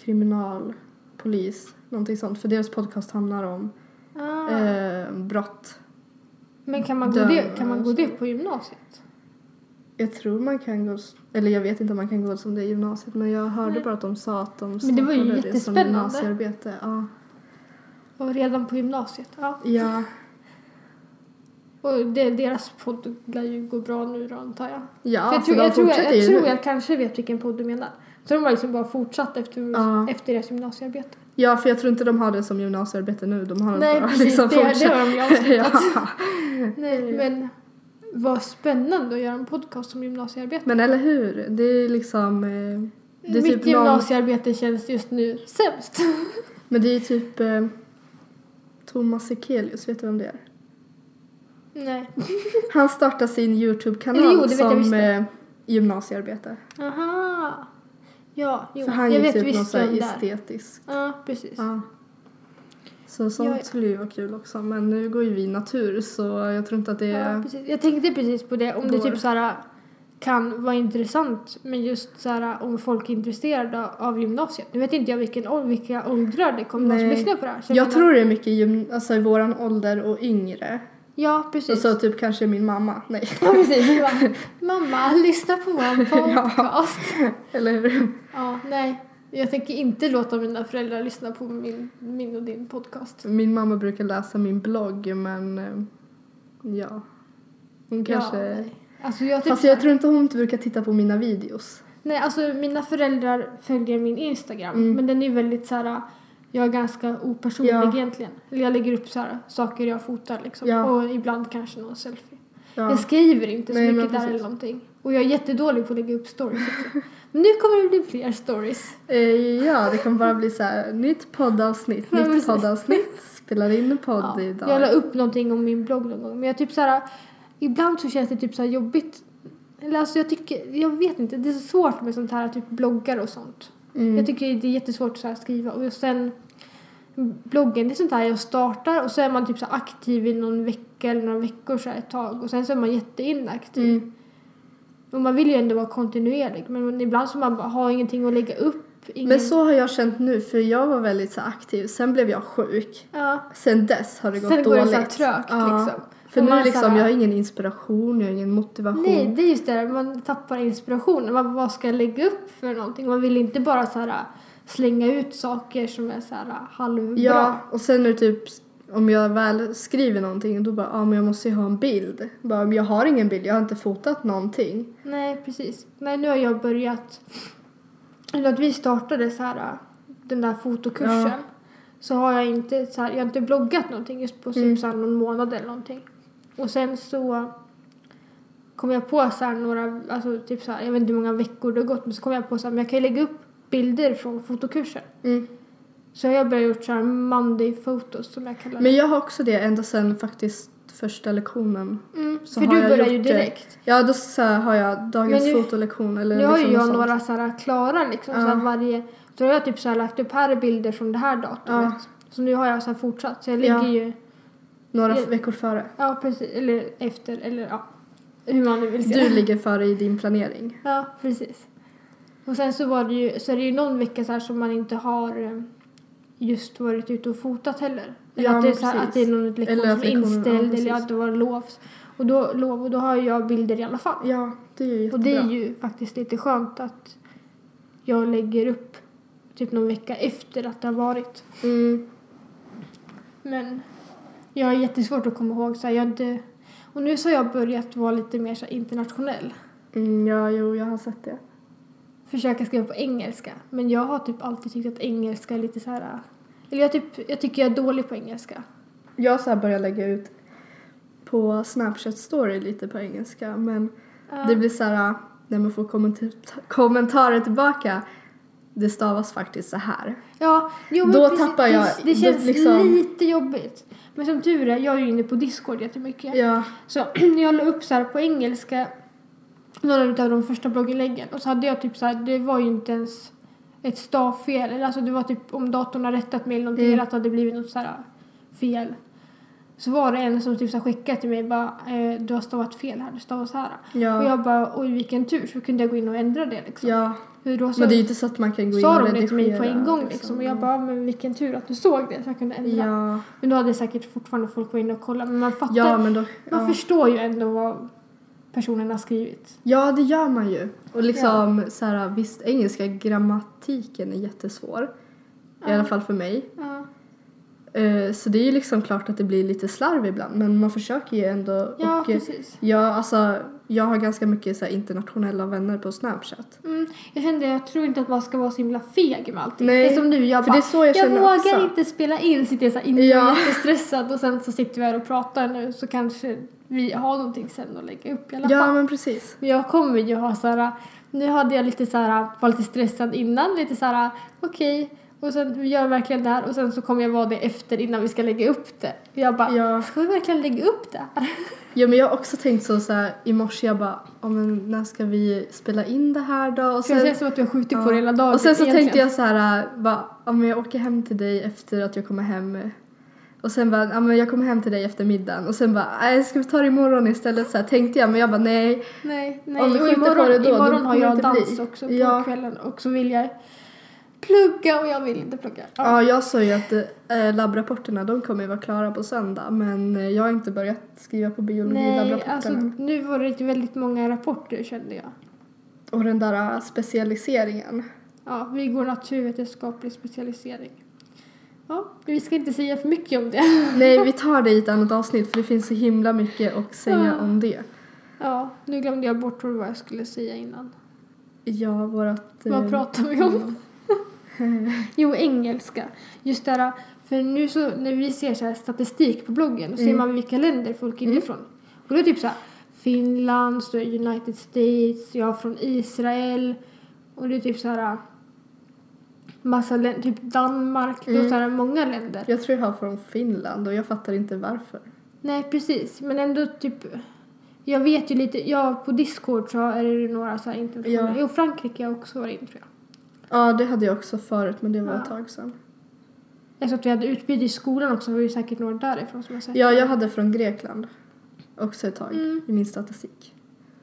Speaker 2: kriminal, polis, någonting sånt. För deras podcast handlar om
Speaker 1: Ah.
Speaker 2: eh, brott.
Speaker 1: men kan man, gå
Speaker 2: döm-
Speaker 1: det, kan man gå det på gymnasiet?
Speaker 2: Jag tror man kan gå, s- eller jag vet inte om man kan gå som det i gymnasiet men jag hörde
Speaker 1: Nej.
Speaker 2: bara att de sa att de
Speaker 1: Men det var ju
Speaker 2: startade det som
Speaker 1: jättespännande.
Speaker 2: gymnasiearbete. Ja.
Speaker 1: Och redan på gymnasiet? Ja.
Speaker 2: ja,
Speaker 1: Och det, deras podd lär ju gå bra nu då antar jag.
Speaker 2: ja
Speaker 1: För jag,
Speaker 2: så
Speaker 1: tror,
Speaker 2: de
Speaker 1: jag, tror, jag,
Speaker 2: fortsätter
Speaker 1: jag
Speaker 2: ju
Speaker 1: tror
Speaker 2: nu.
Speaker 1: jag kanske vet vilken podd du menar. Så de har liksom bara fortsatt efter,
Speaker 2: Ja.
Speaker 1: efter deras gymnasiearbete.
Speaker 2: Ja, för jag tror inte de har det som gymnasiearbete nu. De har
Speaker 1: Nej,
Speaker 2: bara liksom
Speaker 1: precis. det, det har de ju avslutat.
Speaker 2: ja.
Speaker 1: Liksom Nej, men vad spännande att göra en podcast om gymnasiearbete.
Speaker 2: Men eller hur? Det är liksom... eh, Det är
Speaker 1: Mitt
Speaker 2: typ någon,
Speaker 1: gymnasiearbete känns just nu sämst.
Speaker 2: men det är typ eh, Thomas Sekelius, vet du vem det är?
Speaker 1: Nej.
Speaker 2: Han startar sin
Speaker 1: Eller
Speaker 2: Youtube-kanal
Speaker 1: jo, det vet jag visst
Speaker 2: som
Speaker 1: det.
Speaker 2: eh, gymnasiearbete.
Speaker 1: Aha. Ja, jo.
Speaker 2: För han
Speaker 1: jag
Speaker 2: gick
Speaker 1: vet
Speaker 2: typ någon
Speaker 1: visst
Speaker 2: så här
Speaker 1: vem där.
Speaker 2: estetisk.
Speaker 1: Ja, precis.
Speaker 2: Ja. Så sånt
Speaker 1: Jag-
Speaker 2: skulle ju vara kul också. Men nu går ju vi natur så jag tror inte att det
Speaker 1: Ja,
Speaker 2: är...
Speaker 1: precis. Jag tänkte precis på det, om det
Speaker 2: Går.
Speaker 1: typ såhär kan vara intressant men just så här, äh, om folk är intresserade av gymnasiet. Nu vet inte jag vilken, ål- vilka åldrar det kommer att
Speaker 2: Nej.
Speaker 1: lyssna på det här. så
Speaker 2: Jag
Speaker 1: menar-
Speaker 2: tror det är mycket gym, alltså i våran ålder och yngre.
Speaker 1: Ja,
Speaker 2: Så,
Speaker 1: precis.
Speaker 2: så typ kanske min mamma. Nej.
Speaker 1: Ja, precis. Vi bara, Mamma, lyssna på vår
Speaker 2: Ja.
Speaker 1: podcast.
Speaker 2: Eller hur?
Speaker 1: ja. nej. Jag tänker inte låta mina föräldrar lyssna på min, min och din podcast.
Speaker 2: Min mamma brukar läsa min blogg men eh, ja. Hon kanske...
Speaker 1: Ja, nej. Alltså jag typ
Speaker 2: Fast jag tror inte hon brukar titta på mina videos.
Speaker 1: Nej, alltså mina föräldrar följer min Instagram.
Speaker 2: Mm.
Speaker 1: Men den är väldigt så här. Jag är ganska opersonlig
Speaker 2: Ja.
Speaker 1: egentligen. Eller jag lägger upp så här, saker jag fotar liksom.
Speaker 2: Ja.
Speaker 1: Och ibland kanske någon selfie.
Speaker 2: Ja.
Speaker 1: Jag skriver inte så
Speaker 2: Nej, men
Speaker 1: mycket där
Speaker 2: precis.
Speaker 1: eller någonting. Och jag är jättedålig på att lägga upp stories också. Men nu kommer det bli fler stories.
Speaker 2: Eh, ja, det kommer bara bli så här nytt poddavsnitt,
Speaker 1: Ja,
Speaker 2: nytt
Speaker 1: precis.
Speaker 2: poddavsnitt, spelar in en podd
Speaker 1: Ja.
Speaker 2: idag.
Speaker 1: Jag la upp någonting om min blogg någon gång. Men jag typ så här, ibland så känns det typ så här jobbigt. Eller alltså jag tycker, jag vet inte. Det är så svårt med sånt här, typ bloggar och sånt.
Speaker 2: Mm.
Speaker 1: Jag tycker det är jättesvårt så här att skriva och sen bloggen, det är sånt här jag startar och så är man typ så här aktiv i någon vecka eller några veckor så här ett tag och sen så är man jätteinaktiv.
Speaker 2: Mm.
Speaker 1: Och man vill ju ändå vara kontinuerlig men ibland så man bara har ingenting att lägga upp. Ingen...
Speaker 2: Men så har jag känt nu, för jag var väldigt så här aktiv, sen blev jag sjuk.
Speaker 1: Ja.
Speaker 2: Sen dess har det gått
Speaker 1: Sen går
Speaker 2: dåligt.
Speaker 1: det så här trögt liksom.
Speaker 2: För
Speaker 1: Och
Speaker 2: nu
Speaker 1: man så
Speaker 2: liksom,
Speaker 1: här-
Speaker 2: jag har ingen inspiration, jag har ingen motivation.
Speaker 1: Nej, det är just det där, man tappar inspirationen. Vad, vad ska jag lägga upp för någonting? Man vill inte bara så här slänga ut saker som är så här halvbra.
Speaker 2: Ja, och sen är det typ om jag väl skriver någonting då bara, ja ah, men jag måste ju ha en bild. Bara, men jag har ingen bild, jag har inte fotat någonting.
Speaker 1: Nej, precis. Nej, nu har jag börjat... Eller att vi startade så här, den där fotokursen.
Speaker 2: Ja.
Speaker 1: Så har jag inte, så här, jag har inte bloggat någonting just på
Speaker 2: Mm.
Speaker 1: typ så här, någon månad eller någonting. Och sen så kom jag på så här några, alltså typ så här, jag vet inte hur många veckor det har gått, men så kom jag på så här, men jag kan ju lägga upp bilder från fotokursen.
Speaker 2: Mm.
Speaker 1: Så jag har börjat gjort så här Monday photos som jag kallar det.
Speaker 2: Men jag har också det ända sen faktiskt första lektionen.
Speaker 1: mm,
Speaker 2: så
Speaker 1: för
Speaker 2: har
Speaker 1: du
Speaker 2: jag
Speaker 1: börjar
Speaker 2: gjort eh,
Speaker 1: ju
Speaker 2: det.
Speaker 1: direkt.
Speaker 2: Ja, då så här har jag dagens
Speaker 1: Men nu-
Speaker 2: fotolektion eller
Speaker 1: Nu har ju
Speaker 2: liksom
Speaker 1: jag
Speaker 2: något sånt.
Speaker 1: några så här klara liksom,
Speaker 2: Ja.
Speaker 1: så här varje... Då har jag typ så här lagt upp här är bilder från det här datumet. Så nu har jag så här fortsatt. Så jag ligger
Speaker 2: Ja.
Speaker 1: ju,
Speaker 2: Några
Speaker 1: Ja.
Speaker 2: veckor före.
Speaker 1: ja precis, eller efter, eller ja. Hur man nu vill se
Speaker 2: Du ligger före i din planering.
Speaker 1: Ja, precis. Och sen så var det ju, så är det ju någon vecka så här som man inte har eh, just varit ute och fotat heller. Eller
Speaker 2: Ja,
Speaker 1: att, det är
Speaker 2: men
Speaker 1: så här,
Speaker 2: precis.
Speaker 1: att det är någon lektion
Speaker 2: Eller att
Speaker 1: som är
Speaker 2: lektionen- ja,
Speaker 1: inställd eller
Speaker 2: precis.
Speaker 1: att det var lov. Och då, lov. Och då har jag bilder i alla fall.
Speaker 2: Ja, det är ju jättebra.
Speaker 1: Och det är ju faktiskt lite skönt att jag lägger upp typ någon vecka efter att det har varit.
Speaker 2: mm.
Speaker 1: Men jag har jättesvårt att komma ihåg. Så här, jag har inte... Och nu så har jag börjat vara lite mer så här, internationell.
Speaker 2: Mm, ja, jo, jag har sett det.
Speaker 1: Försöka skriva på engelska. Men jag har typ alltid tyckt att engelska är lite så här... Eller jag, typ, jag tycker jag är dålig på engelska.
Speaker 2: Jag så här börjar lägga ut på Snapchat story lite på engelska men
Speaker 1: Ja.
Speaker 2: det blir så här när man får kommenta- kommentarer tillbaka det stavas faktiskt så här.
Speaker 1: Ja, jo, men
Speaker 2: Då
Speaker 1: precis,
Speaker 2: tappar jag-
Speaker 1: Det,
Speaker 2: då
Speaker 1: det känns
Speaker 2: liksom-
Speaker 1: lite jobbigt. Men som tur är, jag är ju inne på Discord jättemycket.
Speaker 2: Ja,
Speaker 1: Så jag la upp så här på engelska några av de första blogginläggen och så hade jag typ så här, det var ju inte ens ett stavfel. Eller alltså det var typ om datorn har rättat mig eller någonting
Speaker 2: Mm.
Speaker 1: eller att det hade blivit något så här äh, fel. Så var det en som typ så här skickade till mig bara eh, du har stavat fel här, du stavar så här. Och
Speaker 2: ja,
Speaker 1: jag bara oj vilken tur så kunde jag gå in och ändra det liksom.
Speaker 2: ja.
Speaker 1: Hur då så
Speaker 2: Men det är ju inte så att man kan gå in och
Speaker 1: sa
Speaker 2: redigera.
Speaker 1: de det till mig på en gång liksom och jag
Speaker 2: ja.
Speaker 1: bara men vilken tur att du såg det så jag kunde ändra.
Speaker 2: Ja,
Speaker 1: Men då hade säkert fortfarande folk varit inne och kollat men man fattar
Speaker 2: ja men då...
Speaker 1: man
Speaker 2: Ja.
Speaker 1: förstår ju ändå vad personen har skrivit.
Speaker 2: ja, det gör man ju. Och liksom så här visst engelska grammatiken är jättesvår. I
Speaker 1: Ja.
Speaker 2: alla fall för mig.
Speaker 1: Ja,
Speaker 2: Eh, Så det är ju liksom klart att det blir lite slarv ibland men man försöker ju ändå.
Speaker 1: ja
Speaker 2: och, eh,
Speaker 1: precis.
Speaker 2: jag, alltså, jag har ganska mycket så här, internationella vänner på Snapchat.
Speaker 1: Mm, jag kände, jag tror inte att man ska vara så himla feg med allting.
Speaker 2: Nej,
Speaker 1: det är som nu, jag
Speaker 2: För det är
Speaker 1: bara,
Speaker 2: så jag
Speaker 1: jag,
Speaker 2: känner
Speaker 1: vågar
Speaker 2: också.
Speaker 1: inte spela in, sitter jag så här inne och är
Speaker 2: Ja.
Speaker 1: jättestressad och sen så sitter vi här och pratar nu så kanske vi har någonting sen att lägga upp i alla
Speaker 2: Ja
Speaker 1: fall.
Speaker 2: men precis.
Speaker 1: Men jag kommer ju ha så här, nu hade jag lite så här, var lite stressad innan, lite så här, okej, och sen vi gör verkligen det här och sen så kommer jag vara det efter innan vi ska lägga upp det. Jag bara,
Speaker 2: Ja.
Speaker 1: ska vi verkligen lägga upp det här?
Speaker 2: Ja, men jag har också tänkt så, så här, i morse jag bara "Ja, men när ska vi spela in det här då? Och
Speaker 1: För det
Speaker 2: sen,
Speaker 1: känns som att du har skjutit
Speaker 2: ja.
Speaker 1: på det hela dagen.
Speaker 2: och sen så
Speaker 1: egentligen.
Speaker 2: tänkte jag så här äh, bara, ja, men jag åker hem till dig efter att jag kommer hem. äh, Och sen bara, ja men jag kommer hem till dig efter middagen. Och sen bara, nej ska vi ta det imorgon istället? Så här, tänkte jag, men jag bara nej.
Speaker 1: Nej, nej.
Speaker 2: Om vi
Speaker 1: och
Speaker 2: skjuter på
Speaker 1: imorgon,
Speaker 2: det då, då
Speaker 1: imorgon
Speaker 2: kommer
Speaker 1: har
Speaker 2: det
Speaker 1: jag
Speaker 2: inte
Speaker 1: dans
Speaker 2: bli.
Speaker 1: också på
Speaker 2: Ja.
Speaker 1: kvällen och så vill jag plugga och jag vill inte plugga. Ja.
Speaker 2: Ja, jag sa ju att eh, labbrapporterna de kommer ju vara klara på söndag. Men eh, jag har inte börjat skriva på
Speaker 1: Nej,
Speaker 2: biologilabbrapporterna.
Speaker 1: alltså nu var det väldigt många rapporter kände jag. alltså-
Speaker 2: Och den där eh, specialiseringen.
Speaker 1: Ja, vi går naturvetenskaplig specialisering. Ja, vi ska inte säga för mycket om det.
Speaker 2: Nej, vi tar det i ett annat avsnitt för det finns så himla mycket att säga
Speaker 1: Ja.
Speaker 2: om det.
Speaker 1: Ja, nu glömde jag bort vad jag skulle säga innan.
Speaker 2: Ja, vårat... eh,
Speaker 1: Vad pratar vi om? Jo, engelska. Just det här, för nu så när vi ser så här statistik på bloggen så ser
Speaker 2: Mm.
Speaker 1: man vilka länder folk är ifrån. Och då är det typ så här Finland, så är det United States, jag är från Israel och det är typ så här massa länder, typ Danmark, det är
Speaker 2: Mm.
Speaker 1: så här många länder.
Speaker 2: Jag tror jag har från Finland och jag fattar inte varför.
Speaker 1: Nej, precis. Men ändå typ... Jag vet ju lite... Ja, på Discord så är det ju några så här internationella...
Speaker 2: Ja.
Speaker 1: Jo, Frankrike har också varit in, tror jag.
Speaker 2: Ja, det hade jag också förut men det var
Speaker 1: Ja.
Speaker 2: ett tag sedan.
Speaker 1: Jag såg att vi hade utbyte i skolan också. Det var ju säkert några därifrån som har sett.
Speaker 2: Ja, jag hade från Grekland också ett tag
Speaker 1: Mm.
Speaker 2: i min statistik.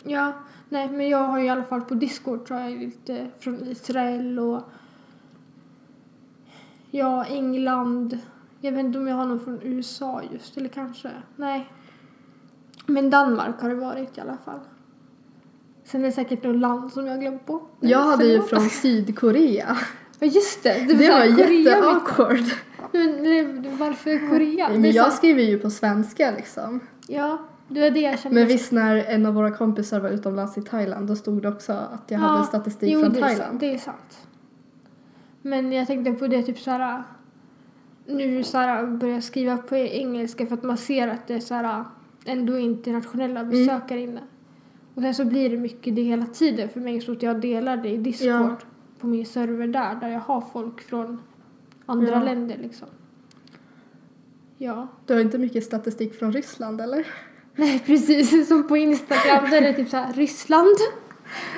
Speaker 1: Ja, nej, men jag har ju i alla fall på Discord tror jag lite från Israel och... Ja, England. Jag vet inte om jag har någon från USA just, eller kanske. Nej. Men Danmark har det varit i alla fall. Sen är det säkert något land som jag har glömt bort.
Speaker 2: Jag hade ju
Speaker 1: Förlåt.
Speaker 2: från Sydkorea.
Speaker 1: Ja just det, det,
Speaker 2: Det var
Speaker 1: Korea mitt-
Speaker 2: jätteawkward.
Speaker 1: Men eller, varför Korea? Det är
Speaker 2: Men jag
Speaker 1: så,
Speaker 2: skriver ju på svenska liksom.
Speaker 1: ja, det var det jag kände.
Speaker 2: Men visst när en av våra kompisar var utomlands i Thailand då stod det också att jag hade statistik
Speaker 1: jo,
Speaker 2: från
Speaker 1: det Är, sant,
Speaker 2: Thailand.
Speaker 1: det är sant. Men jag tänkte på det typ såhär nu såhär börjar jag skriva på engelska för att man ser att det är såhär ändå internationella
Speaker 2: Mm.
Speaker 1: besökare inne. Och sen så blir det mycket det hela tiden för mig så att jag delar det i Discord
Speaker 2: Ja.
Speaker 1: på min server där där jag har folk från andra
Speaker 2: Ja.
Speaker 1: länder liksom. Ja.
Speaker 2: Du har inte mycket statistik från Ryssland eller?
Speaker 1: Nej, precis. Som på Instagram där det är typ så här Ryssland.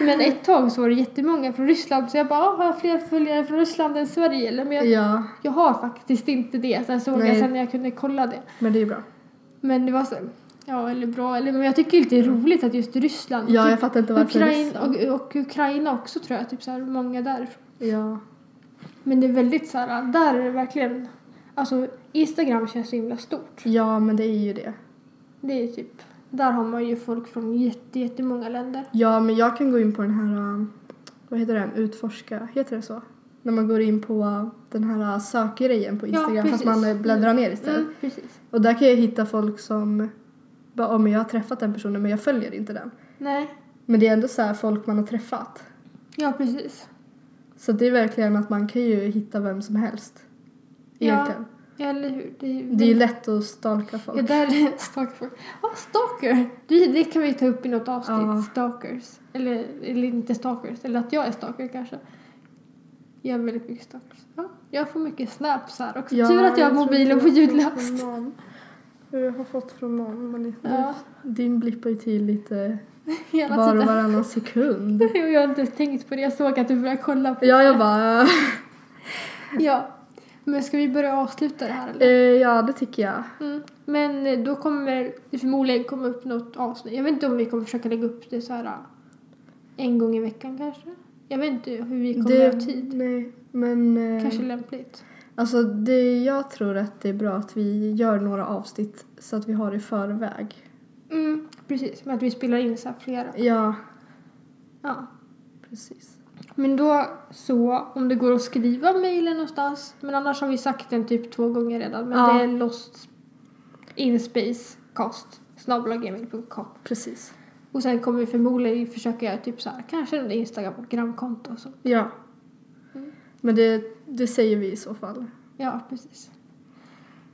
Speaker 1: Men ett tag så var det jättemånga från Ryssland så jag bara, "Ah, har jag fler följare från Ryssland än Sverige? Eller, men jag,
Speaker 2: Ja,
Speaker 1: jag har faktiskt inte det. Sen såg jag
Speaker 2: Nej.
Speaker 1: sen när jag kunde kolla det.
Speaker 2: men det är bra.
Speaker 1: Men det var så, ja eller bra, eller, men jag tycker inte det är roligt att just Ryssland.
Speaker 2: Ja,
Speaker 1: typ
Speaker 2: jag fattar inte varför
Speaker 1: Ukraina,
Speaker 2: Ryssland.
Speaker 1: och, och Ukraina också tror jag, typ så här många därifrån.
Speaker 2: Ja.
Speaker 1: Men det är väldigt så här, där är det verkligen, alltså Instagram känns så himla stort.
Speaker 2: ja, men det är ju det.
Speaker 1: Det är typ, där har man ju folk från jätte, jättemånga länder.
Speaker 2: Ja, men jag kan gå in på den här, eh, vad heter den, utforska, heter det så? När man går in på eh, den här eh, sökgrejen på
Speaker 1: Ja,
Speaker 2: Instagram fast
Speaker 1: precis.
Speaker 2: man eh, bläddrar ner istället.
Speaker 1: Mm, precis.
Speaker 2: Och där kan jag hitta folk som bara, oh, men jag har träffat den personen men jag följer inte den.
Speaker 1: Nej,
Speaker 2: Men det är ändå så här folk man har träffat.
Speaker 1: ja precis.
Speaker 2: Så det är verkligen att man kan ju hitta vem som helst.
Speaker 1: Ja.
Speaker 2: Egentligen.
Speaker 1: Ja, eller hur? Det är ju
Speaker 2: Det är ju lätt att stalka folk.
Speaker 1: Ja, där stalker. Ja, stalker! Det, det kan vi ta upp i något avsnitt.
Speaker 2: Ja.
Speaker 1: Stalkers. Eller, eller inte stalkers. Eller att jag är stalker kanske. Jag är väldigt mycket stalkers. Ja, jag får mycket snaps här också.
Speaker 2: Ja,
Speaker 1: Tur att jag har
Speaker 2: tror
Speaker 1: mobilen på
Speaker 2: inte jag har fått
Speaker 1: ljudlöst.
Speaker 2: från någon. Jag har fått från någon men det-
Speaker 1: Ja,
Speaker 2: din blippar ju till lite
Speaker 1: hela
Speaker 2: var och
Speaker 1: tiden.
Speaker 2: varannan sekund.
Speaker 1: Och jag har inte ens tänkt på det. Jag såg att du började kolla på
Speaker 2: Ja, jag bara...
Speaker 1: Ja. Men ska vi börja avsluta det här eller?
Speaker 2: eh, ja, det tycker jag.
Speaker 1: Mm. Men eh, då kommer det förmodligen komma upp något avsnitt. Jag vet inte om vi kommer försöka lägga upp det så här eh, en gång i veckan kanske. Jag vet inte hur vi kommer
Speaker 2: det,
Speaker 1: ha tid.
Speaker 2: Nej, men... eh,
Speaker 1: Kanske lämpligt.
Speaker 2: Alltså, det, jag tror att det är bra att vi gör några avsnitt så att vi har i förväg.
Speaker 1: Mm, precis, men att vi spelar in så här flera.
Speaker 2: Ja,
Speaker 1: Ja.
Speaker 2: precis.
Speaker 1: Men då så, om det går att skriva mejlen någonstans. Men annars har vi sagt den typ två gånger redan. Men
Speaker 2: Ja.
Speaker 1: det är lostinspace.cast snabblagmail.com
Speaker 2: Precis.
Speaker 1: Och sen kommer vi förmodligen försöka göra typ så här, kanske en Instagram-konto och så.
Speaker 2: Ja.
Speaker 1: Mm.
Speaker 2: Men det, det säger vi i så fall.
Speaker 1: Ja, precis.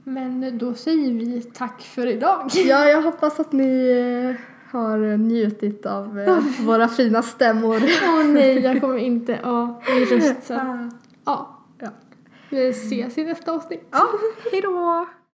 Speaker 1: Men då säger vi tack för idag.
Speaker 2: Ja, jag hoppas att ni eh, har njutit av eh, våra fina stämmor.
Speaker 1: Åh nej, jag kommer inte... Ja, min röst så. Ja.
Speaker 2: Ja.
Speaker 1: Vi ses i nästa avsnitt.
Speaker 2: Ja, hej då!